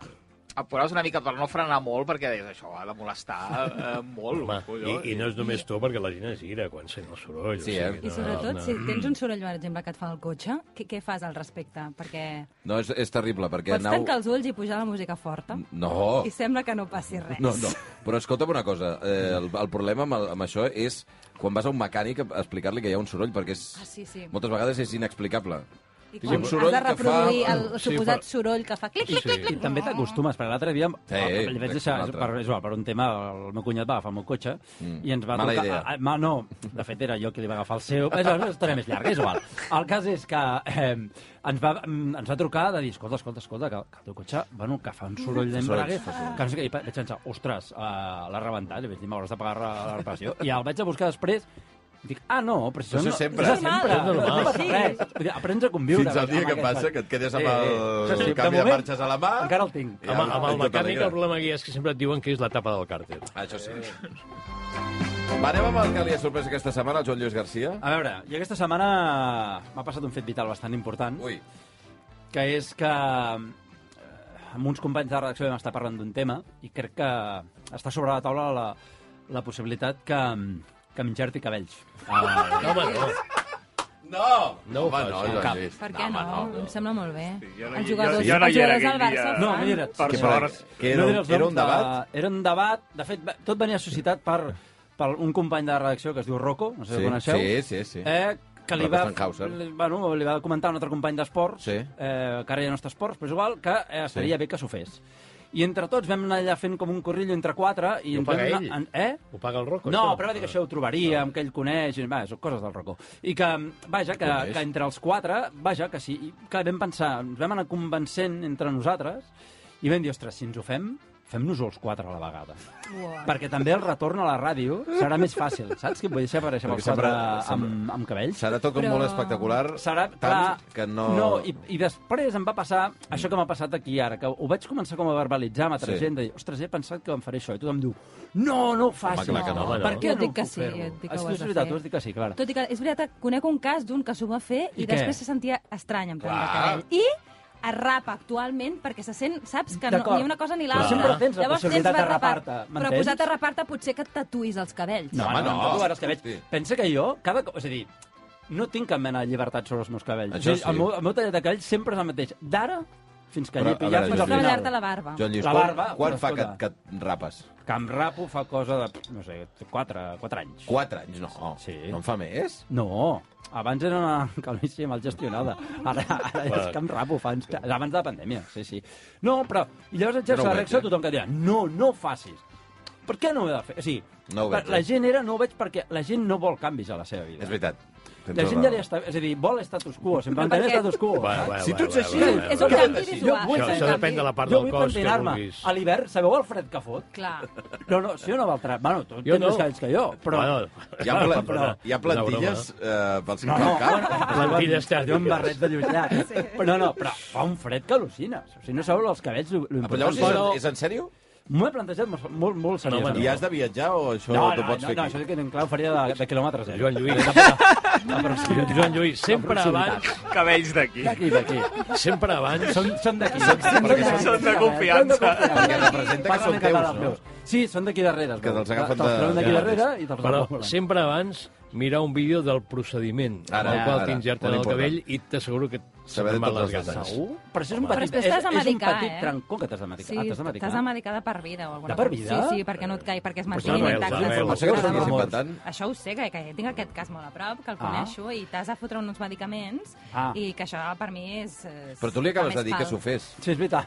Speaker 1: et posaves una mica per no frenar molt, perquè deies, això ha de molestar eh, molt.
Speaker 7: Home, i,
Speaker 1: collons.
Speaker 7: I no és només tu, perquè la gent es gira quan sent el soroll.
Speaker 3: Sí, eh?
Speaker 7: no,
Speaker 4: I sobretot,
Speaker 7: no.
Speaker 4: si tens un soroll, per exemple, que et fa el cotxe, què, què fas al respecte? Perquè
Speaker 3: No, és, és terrible, perquè
Speaker 4: pots tancar els ulls i pujar la música forta
Speaker 3: No.
Speaker 4: i sembla que no passi res.
Speaker 3: No, no. Però escolta'm una cosa, eh, el, el problema amb, el, amb això és quan vas a un mecànic a explicar-li que hi ha un soroll, perquè és,
Speaker 4: Ah, sí, sí.
Speaker 3: moltes vegades és inexplicable.
Speaker 4: I
Speaker 3: Sí,
Speaker 4: quan
Speaker 3: un
Speaker 4: has
Speaker 3: soroll
Speaker 4: de
Speaker 3: que fa-
Speaker 4: reproduir el
Speaker 7: Sí,
Speaker 4: suposat
Speaker 7: però-
Speaker 4: soroll que fa clic, clic, clic,
Speaker 6: I també t'acostumes, perquè l'altre dia...
Speaker 3: Sí,
Speaker 6: el- el vaig
Speaker 3: exacte,
Speaker 6: deixar,
Speaker 3: l'altre.
Speaker 6: per, és igual, per un tema, el meu cunyat va agafar el meu cotxe
Speaker 3: Mm,
Speaker 6: i ens va
Speaker 3: mala
Speaker 6: trucar...
Speaker 3: idea.
Speaker 6: A, a, ma, no, de fet era jo qui li va agafar el seu. És una història més llarga, és igual. El cas és que eh, ens, va, mm, ens va trucar de dir, escolta, escolta, escolta, que, que el teu cotxe, bueno, que fa un soroll d'embrague, que no sé què, i pa- vaig pensar, ostres, eh, l'ha rebentat, i vaig dir, m'hauràs de pagar la, la reparació. I el vaig a buscar després, i dic, ah, no, però si
Speaker 3: Però això
Speaker 6: són...
Speaker 3: és sempre.
Speaker 6: és sempre,
Speaker 4: És normal.
Speaker 6: no passa res. Vull dir, Aprens a conviure.
Speaker 3: Fins al dia
Speaker 6: amb
Speaker 3: que
Speaker 6: aquest
Speaker 3: passa
Speaker 6: país.
Speaker 3: que et quedes amb el canvi de marxes a la mà.
Speaker 6: Encara el tinc.
Speaker 3: Ja,
Speaker 7: Amb, amb el
Speaker 3: tot
Speaker 7: mecànic
Speaker 3: alegre.
Speaker 7: el problema que hi ha és que sempre et diuen que és la tapa del càrter.
Speaker 3: Ah, Això sí. Va, anem amb el que li ha sorprès aquesta setmana, el Joan Lluís Garcia.
Speaker 6: A veure, i aquesta setmana m'ha passat un fet vital bastant important,
Speaker 3: Ui,
Speaker 6: que és que eh, amb uns companys de redacció vam estar parlant d'un tema i crec que està sobre la taula la, la possibilitat que, que m'injerti cabells. Ah,
Speaker 7: No, home, no.
Speaker 3: no!
Speaker 7: No ho
Speaker 3: Home,
Speaker 7: facis.
Speaker 3: no, Joan
Speaker 6: eh, Cap.
Speaker 3: Lluís.
Speaker 4: Per què no?
Speaker 3: home,
Speaker 4: Em sembla molt bé.
Speaker 1: jo no hi-
Speaker 4: els jugadors,
Speaker 1: jo- jo no
Speaker 4: els
Speaker 1: hi era
Speaker 4: jugadors del
Speaker 1: aquell
Speaker 4: Barça
Speaker 1: dia.
Speaker 4: ho
Speaker 6: no,
Speaker 4: fan.
Speaker 6: no hi eres.
Speaker 1: Per
Speaker 3: Que,
Speaker 1: sort.
Speaker 3: que
Speaker 6: No
Speaker 3: era,
Speaker 6: diré els
Speaker 3: un, era un
Speaker 6: noms,
Speaker 3: debat?
Speaker 6: eh, Era un debat. De fet, va- tot venia suscitat per, per un company de redacció que es diu Rocco, no sé si el coneixeu.
Speaker 3: sí, sí, sí.
Speaker 6: Eh, que li
Speaker 3: Rocco
Speaker 6: va,
Speaker 3: Stankhauser.
Speaker 6: li, bueno, li va comentar un altre company d'esports,
Speaker 3: Sí.
Speaker 6: eh, que ara ja no està a esports, però és igual, que eh, estaria bé que s'ho fes. I entre tots vam anar allà fent com un corrillo entre quatre... I,
Speaker 7: I ho
Speaker 6: ens
Speaker 7: paga
Speaker 6: vam
Speaker 7: ell?
Speaker 6: En, eh?
Speaker 7: Ho paga el Rocco,
Speaker 6: No,
Speaker 7: això?
Speaker 6: però va dir que
Speaker 7: Ah.
Speaker 6: això ho trobaríem, que ell coneix... I, va, són coses del racó. I que, vaja, que,
Speaker 3: Coneix.
Speaker 6: que entre els quatre, vaja, que sí, que vam pensar, ens vam anar convencent entre nosaltres i vam dir, ostres, si ens ho fem, fem-nos-ho els quatre a la vegada.
Speaker 4: Uah.
Speaker 6: Perquè també el retorn a la ràdio serà més fàcil, saps? Que em vull deixar aparèixer amb
Speaker 3: Perquè
Speaker 6: els quatre
Speaker 3: sempre- sempre-
Speaker 6: amb, amb cabells.
Speaker 3: Serà tot com
Speaker 4: Però-
Speaker 3: molt espectacular,
Speaker 6: Serà,
Speaker 3: tant
Speaker 6: clar,
Speaker 3: que no...
Speaker 6: no i, I després em va passar això que m'ha passat aquí ara, que ho vaig començar com a verbalitzar amb altra
Speaker 3: Sí.
Speaker 6: sí. gent, de dir, ostres, he pensat que em faré això, i tothom diu, no, no ho facis.
Speaker 3: clar que no, home, no.
Speaker 6: Per què
Speaker 4: Jo et
Speaker 6: no
Speaker 4: dic que
Speaker 6: puc
Speaker 4: sí,
Speaker 6: fer-ho?
Speaker 4: jo et dic que
Speaker 6: És
Speaker 4: ho
Speaker 6: que
Speaker 4: has
Speaker 6: és
Speaker 4: de
Speaker 6: veritat,
Speaker 4: fer.
Speaker 6: tu has dit que sí, clar.
Speaker 4: Tot i que, és veritat, conec un cas d'un que s'ho va fer i,
Speaker 6: I què?
Speaker 4: després se sentia estrany amb
Speaker 3: Clar.
Speaker 4: tant de cabell. I es rapa actualment perquè se sent, saps, que no,
Speaker 6: D'acord.
Speaker 4: ni una cosa ni
Speaker 6: Però
Speaker 4: l'altra.
Speaker 6: sempre tens la
Speaker 4: tens
Speaker 6: possibilitat de
Speaker 4: barrapar-
Speaker 6: rapar-te,
Speaker 4: Però
Speaker 6: m'entens?
Speaker 4: posat a rapar-te potser que et tatuïs els cabells.
Speaker 6: No,
Speaker 3: Home,
Speaker 6: no,
Speaker 3: no.
Speaker 6: no, em tatuaré els cabells.
Speaker 3: Hosti.
Speaker 6: Pensa que jo, cada cop... És a dir, no tinc cap mena de llibertat sobre els meus cabells.
Speaker 3: Això
Speaker 6: O sigui,
Speaker 3: sí.
Speaker 6: El meu, el meu tallat de cabells sempre és el mateix. D'ara fins que
Speaker 3: Però,
Speaker 6: llepi,
Speaker 3: a
Speaker 6: ja
Speaker 3: veure,
Speaker 6: fins
Speaker 3: Joan
Speaker 6: al
Speaker 3: Lluís.
Speaker 4: Treballar-te la
Speaker 6: final.
Speaker 4: barba.
Speaker 3: Joan Lluís,
Speaker 6: La
Speaker 3: quan-
Speaker 6: barba,
Speaker 3: quan
Speaker 6: però
Speaker 3: fa que,
Speaker 6: escolta.
Speaker 3: que et rapes?
Speaker 6: Que em rapo fa cosa de, no sé, 4, 4 anys.
Speaker 3: 4 anys, no.
Speaker 6: Sí.
Speaker 3: No en fa més?
Speaker 6: No, abans era una calvície mal gestionada. Ara, ara és que em rapo, fa anys, que- abans de la pandèmia, sí, sí. No, però i llavors et
Speaker 3: Jo no
Speaker 6: xerxa
Speaker 3: ho
Speaker 6: no la
Speaker 3: veig,
Speaker 6: reacció
Speaker 3: eh?
Speaker 6: de tothom que deia no, no ho facis. Per què no ho he de fer? O sigui,
Speaker 3: No ho
Speaker 6: per-
Speaker 3: veig, eh?
Speaker 6: la gent era no ho veig perquè la gent no vol canvis a la seva vida.
Speaker 3: És veritat. Tens
Speaker 6: La gent
Speaker 3: raó.
Speaker 6: ja li està... És a dir, vol status quo, sempre
Speaker 4: Però per
Speaker 6: entén
Speaker 4: què?
Speaker 6: status quo.
Speaker 7: Va, va,
Speaker 3: Si
Speaker 7: va,
Speaker 3: tu ets
Speaker 7: va,
Speaker 3: així,
Speaker 7: va, va,
Speaker 4: és
Speaker 7: va,
Speaker 4: un
Speaker 7: va,
Speaker 4: canvi
Speaker 7: va, sí.
Speaker 4: visual,
Speaker 7: Això,
Speaker 4: és un
Speaker 7: això depèn
Speaker 4: canvi.
Speaker 7: de la part
Speaker 6: jo
Speaker 7: del
Speaker 6: vull
Speaker 7: cos que
Speaker 6: pentinar-me.
Speaker 7: vulguis.
Speaker 6: A l'hivern, sabeu el fred que fot?
Speaker 4: Clar.
Speaker 6: No, no, si jo no va altre... Bueno, tu
Speaker 7: Jo
Speaker 6: tens més
Speaker 7: no.
Speaker 6: cabells que jo, però...
Speaker 7: Bueno,
Speaker 3: Hi ha, pla...
Speaker 7: però-
Speaker 3: hi ha plantilles eh, pels que
Speaker 6: No,
Speaker 3: no,
Speaker 6: no,
Speaker 3: cap?
Speaker 6: bueno,
Speaker 7: Plantilles
Speaker 6: Jo amb
Speaker 7: tèrmiques.
Speaker 6: barret de lluitar. Sí. No, no, però fa un fred que al·lucines. O sigui, no sabeu els cabells lo-
Speaker 3: Ah,
Speaker 6: lo
Speaker 3: però
Speaker 6: important.
Speaker 3: llavors,
Speaker 6: Però
Speaker 3: és, és en sèrio?
Speaker 6: M'ho he plantejat molt, molt, molt
Speaker 7: home,
Speaker 6: seriosament.
Speaker 3: I has de viatjar o això
Speaker 6: no,
Speaker 3: t'ho
Speaker 6: no,
Speaker 3: pots
Speaker 6: no,
Speaker 3: fer
Speaker 6: no,
Speaker 3: aquí?
Speaker 6: això que en clau faria de, de quilòmetres. Eh?
Speaker 7: Joan Lluís. Joan Lluís, sempre abans,
Speaker 1: Cabells d'aquí.
Speaker 6: D'aquí, d'aquí.
Speaker 7: sempre abans,
Speaker 6: Són, són d'aquí.
Speaker 1: Perquè són- són de confiança.
Speaker 3: Perquè representa que són teus, no?
Speaker 6: Sí, són d'aquí darrere. es
Speaker 3: Que
Speaker 6: veu.
Speaker 3: te'ls agafen
Speaker 6: Te'ls
Speaker 3: de-
Speaker 6: treuen d'aquí
Speaker 3: de-
Speaker 6: darrere i te'ls
Speaker 7: però
Speaker 6: volen.
Speaker 7: sempre abans mirar un vídeo del procediment
Speaker 3: Ara,
Speaker 7: ara, el qual
Speaker 3: ara,
Speaker 7: t'injerten
Speaker 3: molt
Speaker 7: el
Speaker 3: important.
Speaker 7: cabell i t'asseguro que et
Speaker 3: Saber de
Speaker 7: se'n van
Speaker 3: tots
Speaker 7: les
Speaker 3: els
Speaker 7: ganes.
Speaker 3: detalls.
Speaker 6: Però això és un
Speaker 4: Però
Speaker 6: petit,
Speaker 4: després
Speaker 6: és,
Speaker 4: t'has de
Speaker 6: és un
Speaker 4: medicar,
Speaker 6: petit
Speaker 4: eh?
Speaker 6: trancó que t'has de medicar.
Speaker 4: Sí,
Speaker 6: Ah, t'has de medicar.
Speaker 4: t'has de medicar de per vida o alguna
Speaker 6: De per
Speaker 4: cosa.
Speaker 6: vida?
Speaker 4: Sí, sí, perquè no et caigui, perquè es
Speaker 7: Pues
Speaker 4: mantingui
Speaker 7: no veus,
Speaker 4: intacte.
Speaker 7: no veus.
Speaker 3: Potser que t'ho estàs inventant.
Speaker 4: Això ho sé, que, que tinc aquest cas molt a prop, que el
Speaker 6: Ah.
Speaker 4: coneixo, i t'has de fotre uns medicaments,
Speaker 6: Ah.
Speaker 4: i que això per mi és... és
Speaker 3: Però tu li
Speaker 4: el
Speaker 3: acabes de
Speaker 4: més
Speaker 3: dir que
Speaker 4: fal.
Speaker 3: s'ho fes.
Speaker 6: Sí, és veritat.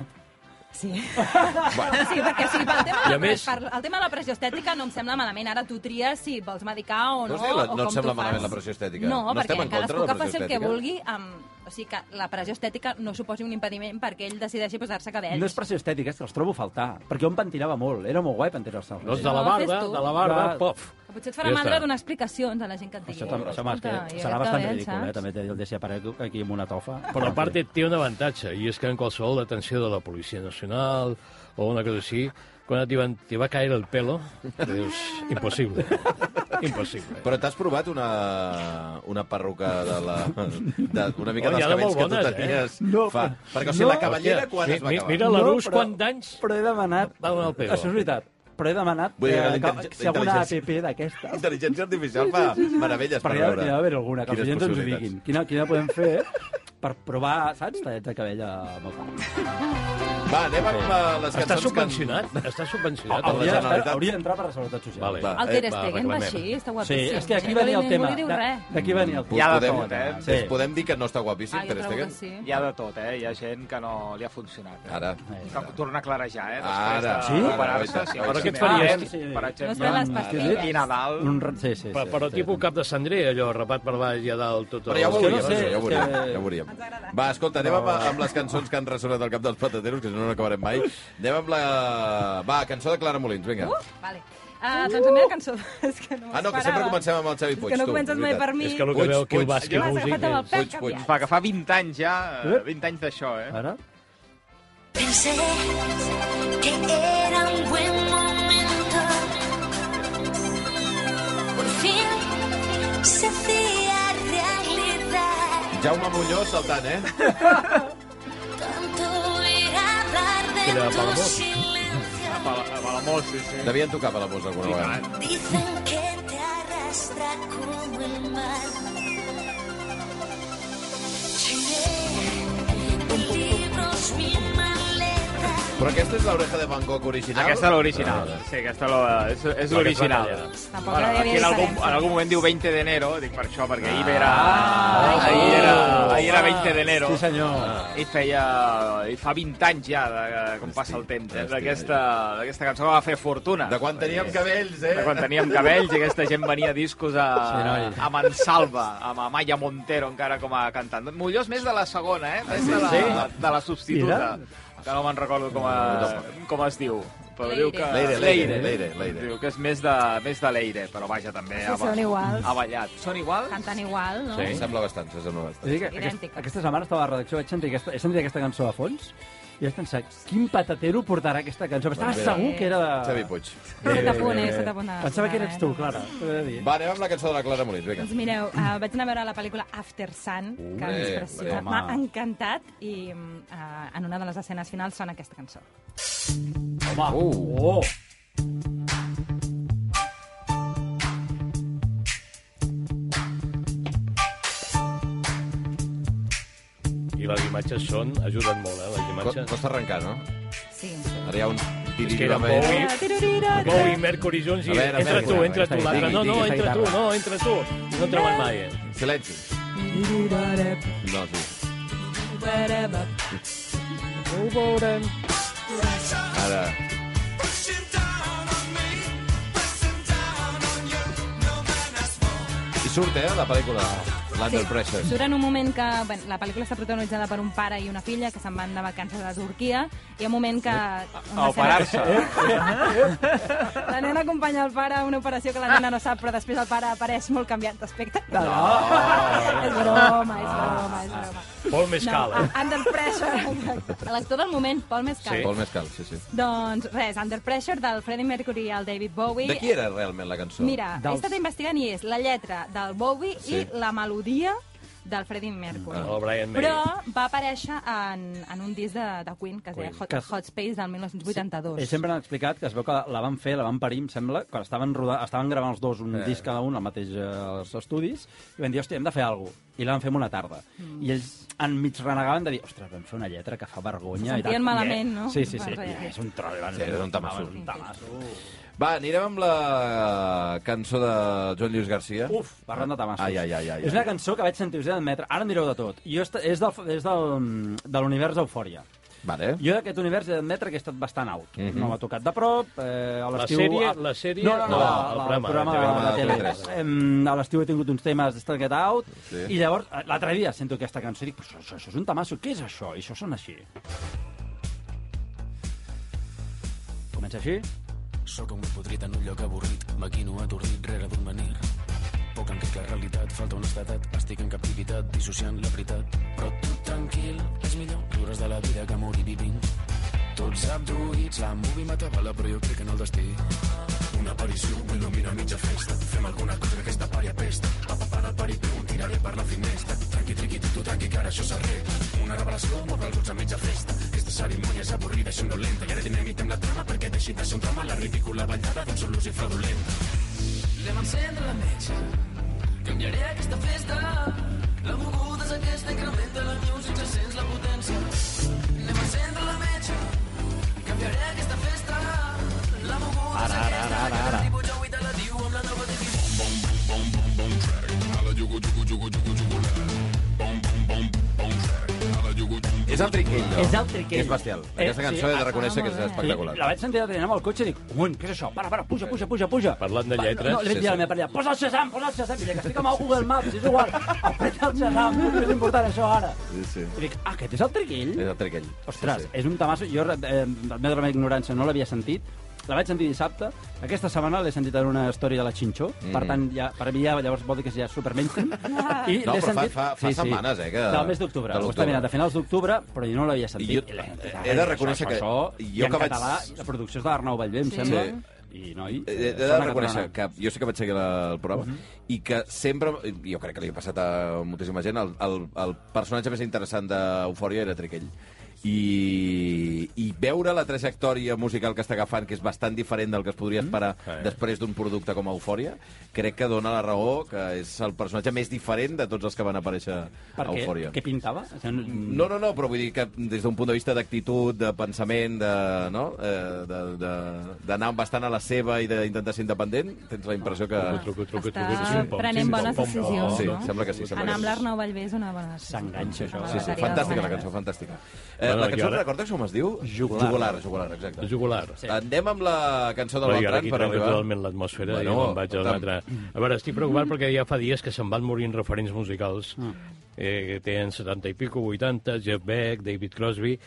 Speaker 4: Sí. Bueno. sí, perquè sí, pel tema,
Speaker 7: I
Speaker 4: de,
Speaker 7: a més-
Speaker 4: per, el tema de la pressió estètica no em sembla malament. Ara tu tries si vols medicar o no.
Speaker 3: Vols dir, la-
Speaker 4: o
Speaker 3: no et
Speaker 4: com tu
Speaker 3: sembla
Speaker 4: fas.
Speaker 3: malament la pressió estètica?
Speaker 4: No,
Speaker 3: No estem
Speaker 4: perquè
Speaker 3: en contra de
Speaker 4: cadascú
Speaker 3: la
Speaker 4: que faci
Speaker 3: pressió
Speaker 4: el que
Speaker 3: estètica.
Speaker 4: vulgui... Amb... O sigui, que la pressió estètica no suposi un impediment perquè ell decideixi posar-se cabells.
Speaker 6: No és pressió estètica, és que els trobo a faltar. Perquè jo em pentinava molt, era molt guai pentinar-se.
Speaker 7: No, és
Speaker 6: de...
Speaker 7: de la
Speaker 4: No, fes
Speaker 7: barba,
Speaker 4: tu.
Speaker 7: de la barba,
Speaker 6: Clar.
Speaker 7: pof.
Speaker 4: Que potser et farà
Speaker 7: Ja
Speaker 4: ja
Speaker 7: està.
Speaker 4: mandra donar explicacions a la gent que et digui.
Speaker 6: Això, tam- això mas, que
Speaker 4: Escolta, i
Speaker 6: serà
Speaker 4: aquest
Speaker 6: bastant
Speaker 4: cabell,
Speaker 6: ridícul,
Speaker 4: saps?
Speaker 6: eh? També el deixi aparec aquí amb una tofa.
Speaker 7: Però a part té un avantatge, i és que en qualsevol detenció de la Policia Nacional o una cosa així, quan et diuen te va caer el pelo, dius, impossible, impossible.
Speaker 3: Però t'has provat una, una perruca de la... De, una mica
Speaker 7: Oh, hi
Speaker 3: dels
Speaker 7: ha de
Speaker 3: cabells
Speaker 7: molt
Speaker 3: que tu
Speaker 7: bones, eh?
Speaker 3: tenies
Speaker 6: No,
Speaker 3: fa...
Speaker 6: però-
Speaker 3: Perquè, o sigui,
Speaker 6: no.
Speaker 3: la cavallera quan
Speaker 7: mi,
Speaker 3: es va acabar?
Speaker 7: Mira
Speaker 6: No,
Speaker 7: l'Arús,
Speaker 6: però-
Speaker 7: quants anys?
Speaker 6: Però he demanat...
Speaker 7: Va donar el pego.
Speaker 6: Això és veritat. Però he demanat
Speaker 3: Vull dir que
Speaker 6: eh,
Speaker 3: la
Speaker 6: que-
Speaker 3: intel·ligència-
Speaker 6: si alguna
Speaker 3: la
Speaker 6: app d'aquesta...
Speaker 3: Intel·ligència artificial fa meravelles per
Speaker 6: Perquè hi ha hi ha
Speaker 3: veure.
Speaker 6: d'haver alguna, que els
Speaker 3: quines
Speaker 6: oients ens ho
Speaker 3: possibilitats.
Speaker 6: diguin. Quina, quina podem fer per provar, saps, tallets de cabell a Mocà.
Speaker 3: Va, anem amb eh, les
Speaker 7: Està
Speaker 3: cançons
Speaker 7: subvencionat, està subvencionat.
Speaker 3: per la
Speaker 6: Hauria, d'estar-
Speaker 3: Generalitat.
Speaker 6: hauria d'entrar per la Seguretat Social.
Speaker 7: Vale.
Speaker 3: Va,
Speaker 4: El Ter
Speaker 3: eh, va,
Speaker 4: Stegen va
Speaker 7: reclamem.
Speaker 4: així, està
Speaker 6: Sí,
Speaker 4: guapíssim.
Speaker 6: és que aquí venia el
Speaker 4: ningú
Speaker 6: tema.
Speaker 4: Ningú li diu
Speaker 6: de-
Speaker 4: res.
Speaker 6: D'aquí venia el
Speaker 3: Pues
Speaker 1: Hi ha de
Speaker 3: podem,
Speaker 1: tot, eh?
Speaker 3: Sí. podem dir que no està guapíssim,
Speaker 4: Ah, jo
Speaker 3: Ter
Speaker 4: trobo que
Speaker 3: Stegen?
Speaker 4: sí.
Speaker 1: Hi ha de tot, eh? Hi ha gent que no li ha funcionat. Eh?
Speaker 3: Ara.
Speaker 1: Que torna a clarejar, eh? Després
Speaker 3: Ara.
Speaker 1: de
Speaker 6: Sí?
Speaker 1: recuperar-se.
Speaker 3: Ara,
Speaker 1: Sí,
Speaker 3: ara,
Speaker 1: però
Speaker 3: què
Speaker 1: què
Speaker 3: et
Speaker 1: et
Speaker 7: faries?
Speaker 1: faries? Per
Speaker 4: No es
Speaker 1: exemple,
Speaker 4: ven les
Speaker 1: i
Speaker 4: pastilles.
Speaker 1: Nadal...
Speaker 6: Un... ra- Sí, sí, sí.
Speaker 7: Però, però
Speaker 6: sí,
Speaker 7: tipus cap de cendrer, allò, rapat per baix i a dalt tot
Speaker 3: Però ja ho
Speaker 6: És que
Speaker 3: veuríem,
Speaker 6: no sé,
Speaker 3: això, ja ho
Speaker 6: és
Speaker 3: veuríem,
Speaker 6: que-
Speaker 3: ja ho veuríem. Va, escolta, anem amb, amb les cançons que han ressonat al cap dels patateros, que si no, no acabarem mai. Anem amb la... Va, cançó de Clara Molins, vinga.
Speaker 4: Uh, vale. Uh, doncs la meva cançó... És que no
Speaker 3: Ah, no, que sempre
Speaker 4: m'esperava.
Speaker 3: comencem amb el Xavi Puig,
Speaker 4: És que no
Speaker 3: tu,
Speaker 4: comences mai
Speaker 3: veritat.
Speaker 4: per mi.
Speaker 7: És que el que
Speaker 3: Puig,
Speaker 7: veu aquí el
Speaker 3: Puig,
Speaker 7: bàsquet
Speaker 4: M'has agafat amb el
Speaker 3: Puig,
Speaker 4: pèl
Speaker 7: músic...
Speaker 3: Puig.
Speaker 4: canviat.
Speaker 1: Fa, que fa 20 anys ja, eh,
Speaker 6: Eh?
Speaker 1: 20 anys d'això, eh?
Speaker 6: Ara?
Speaker 2: Pensé que era un buen momento. Por fin se hacía realidad.
Speaker 3: Jaume Muñoz saltant, eh?
Speaker 2: Tanto ir a hablar de
Speaker 7: Era
Speaker 2: tu
Speaker 7: Palamós.
Speaker 2: silencio.
Speaker 1: A la, a la Mols, sí, sí.
Speaker 3: Devien tocar per la posa alguna vegada.
Speaker 2: Dicen que te arrastra como el mar. Llené de libros mi maleta.
Speaker 3: Però aquesta és l'oreja de Van Gogh original?
Speaker 1: Aquesta és l'original. Sí, aquesta la, és, és l'original.
Speaker 4: Tampoc
Speaker 1: Bueno,
Speaker 4: hi havia
Speaker 1: aquí en algun,
Speaker 4: diferència.
Speaker 1: en algun moment diu 20 de enero, dic per això, perquè ahir era... Ah, ahir, era, ahir era 20 de enero.
Speaker 6: Sí, senyor.
Speaker 1: I feia... I fa 20 anys ja de, com passa el temps, eh?
Speaker 3: Hosti.
Speaker 1: D'aquesta d'aquesta cançó que va fer fortuna.
Speaker 3: De quan teníem cabells, eh?
Speaker 1: De quan teníem cabells i aquesta gent venia a discos a,
Speaker 6: Sí, noi.
Speaker 1: a Mansalva, amb Amaya Montero encara com a cantant. Mollós més de la segona, eh? Més de la, de la substituta, que no me'n recordo com, a, com es diu. Però
Speaker 4: Leire.
Speaker 1: diu que...
Speaker 3: Leire, Leire, Leire, Leire.
Speaker 1: Diu que és més de, més de Leire, però vaja, també
Speaker 4: Sí,
Speaker 1: ha,
Speaker 4: són iguals.
Speaker 1: ha ballat. Són iguals?
Speaker 4: Cantant igual, no?
Speaker 3: Em sembla bastant, se sembla
Speaker 6: Vull dir
Speaker 3: bastant.
Speaker 6: que
Speaker 4: Idèntica.
Speaker 6: Aquesta, aquesta setmana estava a la redacció, vaig sentir aquesta, he sentit aquesta cançó a fons i vaig pensar, quin patatero portarà aquesta cançó? Però Estava
Speaker 3: Doncs mira,
Speaker 6: segur que era de...
Speaker 3: Xavi Puig.
Speaker 4: S'ha de poner, s'ha de poner.
Speaker 6: Pensava que eres tu, Clara. t'ho he de dir.
Speaker 3: Va, anem amb la cançó de la Clara Molins, vinga.
Speaker 4: Doncs mireu, uh, vaig anar a veure la pel·lícula After Sun, que
Speaker 3: Ure,
Speaker 4: m'ha impressionat,
Speaker 6: home.
Speaker 4: m'ha encantat, i uh, en una de les escenes finals sona aquesta cançó.
Speaker 6: Home,
Speaker 3: Uh.
Speaker 6: oh.
Speaker 7: I les imatges són... ajuden molt, eh, les
Speaker 3: Co-
Speaker 7: imatges.
Speaker 3: Costa arrencar, no?
Speaker 4: Sí.
Speaker 3: Ara hi ha un...
Speaker 7: És que era Bowie, Bowie, Mercury Jones i
Speaker 3: A veure,
Speaker 7: entra tu,
Speaker 3: Mercury,
Speaker 7: entra tu,
Speaker 6: aquesta
Speaker 7: l'altre.
Speaker 3: guitarra.
Speaker 7: No, no,
Speaker 3: Digui,
Speaker 6: digui,
Speaker 7: entra tu,
Speaker 6: aquesta
Speaker 7: no, entra tu. I no treuen mai, eh?
Speaker 3: Silenci. No, sí.
Speaker 7: Ho veurem.
Speaker 3: Ara... I surt, eh, la pel·lícula, l'Under Pressure.
Speaker 4: Surt en un moment que... Bueno, la pel·lícula està protagonitzada per un pare i una filla que se'n van de vacances a Turquia i hi ha un moment que...
Speaker 1: A operar-se.
Speaker 3: Eh?
Speaker 4: La nena acompanya el pare a una operació que la nena no sap, però després el pare apareix molt canviat d'aspecte. No. és broma, és broma, és broma.
Speaker 7: Paul Mescal,
Speaker 4: No,
Speaker 7: eh?
Speaker 4: ah. Under Pressure. L'actor del moment, Paul Mescal.
Speaker 3: Vol més cal, sí, sí.
Speaker 4: Doncs res, Under Pressure del Freddie Mercury al David Bowie.
Speaker 3: De qui era realment la cançó?
Speaker 4: Mira,
Speaker 6: Dels-
Speaker 4: he estat investigant i és la lletra del Bowie
Speaker 3: Sí.
Speaker 4: i la melodia del Freddie Mercury.
Speaker 7: eh, El Brian May.
Speaker 4: Però va aparèixer en, en un disc de, de Queen, que es deia
Speaker 6: Queen.
Speaker 4: Hot,
Speaker 6: Que-
Speaker 4: Hot Space del 1982.
Speaker 6: Ells Eh, sempre han explicat que es veu que la van fer, la van parir, em sembla, quan estaven, roda... estaven gravant els dos un eh. disc cada un al mateix eh, als estudis, i van dir, hòstia, hem de fer alguna cosa. I la van fer en una tarda. Mm. I ells enmig renegaven de dir, ostres, vam fer una lletra que fa
Speaker 4: Se
Speaker 6: vergonya. i tal.
Speaker 4: sentien malament,
Speaker 6: I, eh,
Speaker 4: no?
Speaker 6: Sí, sí, sí.
Speaker 4: Per res.
Speaker 6: I és un tro, i van-
Speaker 3: Sí, era un tamasso.
Speaker 6: Un tamasso.
Speaker 3: Va, anirem amb la cançó de Joan Lluís Garcia.
Speaker 6: Uf, parlant de tamassos.
Speaker 3: Ai, ai, ai, ai,
Speaker 6: és una
Speaker 3: ai.
Speaker 6: cançó que vaig sentir, us he d'admetre, ara en direu de tot. Jo est- és, del, és del, de mm, l'univers Eufòria.
Speaker 3: Vale.
Speaker 6: Jo d'aquest univers he d'admetre que he estat bastant out. Mm
Speaker 3: Mhm.
Speaker 6: -hmm. No m'ha tocat de prop. Eh, a
Speaker 7: La
Speaker 6: l'estiu...
Speaker 7: sèrie-
Speaker 6: ah,
Speaker 7: la sèrie-
Speaker 6: No, no, no,
Speaker 7: no,
Speaker 6: la-
Speaker 7: el
Speaker 6: la- el
Speaker 7: programa,
Speaker 6: programa,
Speaker 7: el
Speaker 3: programa
Speaker 6: de
Speaker 3: de
Speaker 6: tele.
Speaker 3: TV3.
Speaker 6: Em, a l'estiu he tingut uns temes d'estat get out, sí.
Speaker 3: Sí.
Speaker 6: i llavors eh, l'altre dia sento aquesta cançó i dic, "Però això, això, això és un tamasso, què és això? I això sona així. Comença així.
Speaker 8: Sóc un podrit en un lloc avorrit, maquino atordit rere d'un venir. Poc en la realitat, falta honestedat, estic en captivitat, dissociant la veritat. Però tu tranquil, és millor, riures de la vida que morir vivint. Tots abduïts, la movie m'atabala, però jo crec en el destí. Una aparició il·lumina mitja festa, fem alguna cosa que aquesta pària pesta. Va papar el pari, però un tiraré per la finestra. Tranqui, triqui, tu tranqui, que ara això s'arregla. Una revelació m'obre els ulls a mitja festa. Aquesta cerimònia és avorrida i somnolenta, i ara dinamitem la trama perquè deixi de ser un drama la ridícula ballada d'un sol i fraudulent. Anem a encendre la metxa, canviaré aquesta festa. La moguda és aquesta, incrementa la music, se sents la potència. Anem a encendre la metxa, canviaré aquesta festa. La moguda és aquesta, ara, ara, ara. que jo i te la diu amb la nova divisió.
Speaker 3: És el Trinquillo.
Speaker 6: És el Trinquillo.
Speaker 3: És bestial. Aquesta
Speaker 6: Eh,
Speaker 3: cançó
Speaker 6: sí,
Speaker 3: he de
Speaker 6: ah,
Speaker 3: reconèixer que és espectacular.
Speaker 6: La vaig sentir l'altre dia amb el cotxe i dic, un, què és això? Para, para, puja, puja, puja, puja.
Speaker 7: Parlant de
Speaker 6: Pa-
Speaker 7: lletres.
Speaker 6: No, li vaig
Speaker 3: Sí,
Speaker 6: dir a la
Speaker 3: sí.
Speaker 6: meva parella, posa el Shazam, posa el Shazam. I dic, estic amb el Google Maps, és igual. Apreta el Shazam, és important això ara.
Speaker 3: Sí, sí.
Speaker 6: I dic, ah, aquest és el Triquill?
Speaker 3: És el Trinquillo.
Speaker 6: Ostres, és un tamasso. Jo, eh, admeto la meva ignorància, no l'havia sentit. La vaig sentir dissabte. Aquesta setmana l'he sentit en una història de la Xinxó.
Speaker 3: Mm-hmm.
Speaker 6: Mm. Per tant, ja, per mi ja llavors vol dir que ja és super mainstream. I
Speaker 3: No,
Speaker 6: l'he
Speaker 3: però fa- fa- fa setmanes, eh, que-
Speaker 6: Del mes d'octubre.
Speaker 3: de
Speaker 6: Ho
Speaker 3: l'octubre.
Speaker 6: està mirant a finals d'octubre, però jo no l'havia sentit.
Speaker 3: Jo- eh,
Speaker 6: I l'he sentit.
Speaker 3: he de reconèixer
Speaker 6: "Ah, Això,
Speaker 3: que
Speaker 6: Això,
Speaker 3: jo
Speaker 6: jo
Speaker 3: que
Speaker 6: que
Speaker 3: vaig-
Speaker 6: català, la producció és de l'Arnau Batllé, em
Speaker 4: Sí.
Speaker 6: sembla.
Speaker 3: Sí.
Speaker 6: I, noi,
Speaker 3: Eh, He de
Speaker 6: sona
Speaker 3: reconèixer
Speaker 6: catalana.
Speaker 3: que jo sé que vaig seguir la, el programa i que sempre, jo crec que li ha passat a moltíssima gent, el, el, el personatge més interessant d'Eufòria era Triquell. I, i veure la trajectòria musical que està agafant, que és bastant diferent del que es podria esperar mm. després d'un producte com Eufòria, crec que dona la raó que és el personatge més diferent de tots els que van aparèixer
Speaker 6: Per
Speaker 3: a
Speaker 6: què?
Speaker 3: Eufòria.
Speaker 6: Què pintava? O sigui,
Speaker 3: No, no, no, però vull dir que des d'un punt de vista d'actitud, de pensament, de, no? Eh, de- de- d'anar bastant a la seva i d'intentar ser independent, tens la impressió que...
Speaker 7: truco, truco,
Speaker 4: Està
Speaker 7: truco, sí, pom,
Speaker 4: prenent
Speaker 7: sí, pom,
Speaker 4: bones
Speaker 7: pom, pom.
Speaker 4: decisions,
Speaker 3: Sí,
Speaker 4: no?
Speaker 3: sembla que sí. Sembla
Speaker 4: Anar amb
Speaker 3: que sí.
Speaker 4: l'Arnau Vallvé és una bona...
Speaker 6: S'enganxa, això.
Speaker 3: Sí, sí, fantàstica la cançó, fantàstica. Eh, la
Speaker 7: Bueno, aquí
Speaker 3: cançó,
Speaker 7: ara-
Speaker 3: recordes com es diu?
Speaker 7: Jugular.
Speaker 3: Jugular, jugular, exacte.
Speaker 7: Jugular.
Speaker 3: Sí. Anem amb la cançó del
Speaker 7: Però jo ara
Speaker 3: Bertran
Speaker 7: aquí
Speaker 3: per
Speaker 7: treu
Speaker 3: arribar.
Speaker 7: totalment l'atmosfera bueno, i
Speaker 3: Bueno,
Speaker 7: me'n vaig a
Speaker 3: escolta'm.
Speaker 7: l'altre. A veure, estic preocupat perquè ja fa dies que se'n van morint referents musicals eh, que tenen 70 i pico, 80, Jeff Beck, David Crosby,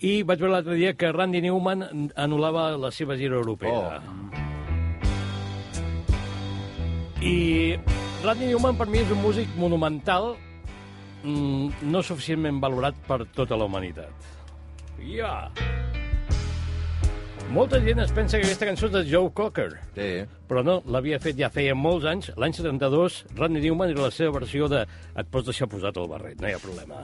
Speaker 7: i vaig veure l'altre dia que Randy Newman anul·lava la seva gira europea. I Randy Newman per mi és un músic monumental mm, no suficientment valorat per tota la humanitat. Ja! Yeah. Molta gent es pensa que aquesta cançó és de Joe Cocker.
Speaker 3: Sí.
Speaker 7: Però no, l'havia fet ja feia molts anys. L'any 72, Randy Newman era la seva versió de Et pots deixar posat el barret, no hi ha problema.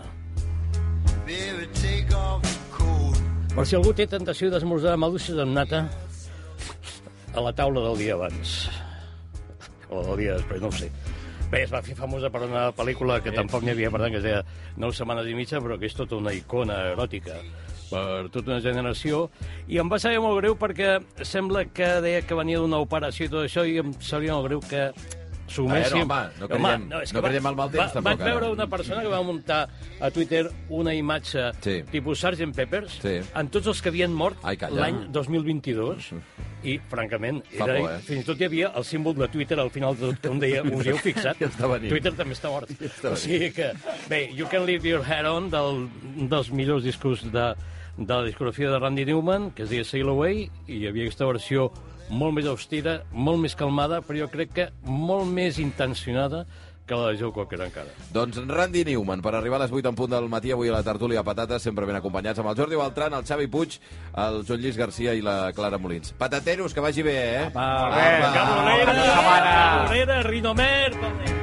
Speaker 7: Per si algú té tentació d'esmorzar maduixes amb nata a la taula del dia abans. O del dia després, no ho sé. Bé, es va fer famosa per una pel·lícula que tampoc n'hi havia, per tant, que es deia 9 setmanes i mitja, però que és tota una icona eròtica per tota una generació. I em va saber molt greu perquè sembla que deia que venia d'una operació i tot això, i em sabia molt greu que
Speaker 3: A veure,
Speaker 7: suméssim...
Speaker 3: home, no creiem-
Speaker 7: és
Speaker 3: no
Speaker 7: que va-
Speaker 3: creiem al mal temps,
Speaker 7: va,
Speaker 3: tampoc,
Speaker 7: Vaig veure
Speaker 3: ara.
Speaker 7: una persona que va muntar a Twitter una imatge
Speaker 3: Sí.
Speaker 7: tipus Sgt. Peppers
Speaker 3: Sí.
Speaker 7: en tots els que havien mort
Speaker 3: Ai, calla. Mm.
Speaker 7: l'any 2022 i, francament,
Speaker 3: Fa
Speaker 7: era,
Speaker 3: por, eh?
Speaker 7: fins i tot hi havia el símbol de Twitter al final de tot, que on deia, us hi heu fixat?
Speaker 3: Ja està venint.
Speaker 7: Twitter també està mort.
Speaker 3: està
Speaker 7: o sigui que, bé, You Can Leave Your Head On, del, un dels millors discos de, de la discografia de Randy Newman, que es deia Sail Away, i hi havia aquesta versió molt més austera, molt més calmada, però jo crec que molt més intencionada que la de Joe Cocker encara.
Speaker 3: Doncs Randy Newman, per arribar a les 8 en punt del matí, avui a la tertúlia Patates, sempre ben acompanyats amb el Jordi Beltran, el Xavi Puig, el Joan Lluís Garcia i la Clara Molins. Patateros, que vagi bé, eh?
Speaker 6: Apa.
Speaker 3: Apa.
Speaker 7: Cap Orera, Cap Orera, Rinomer, tot bé.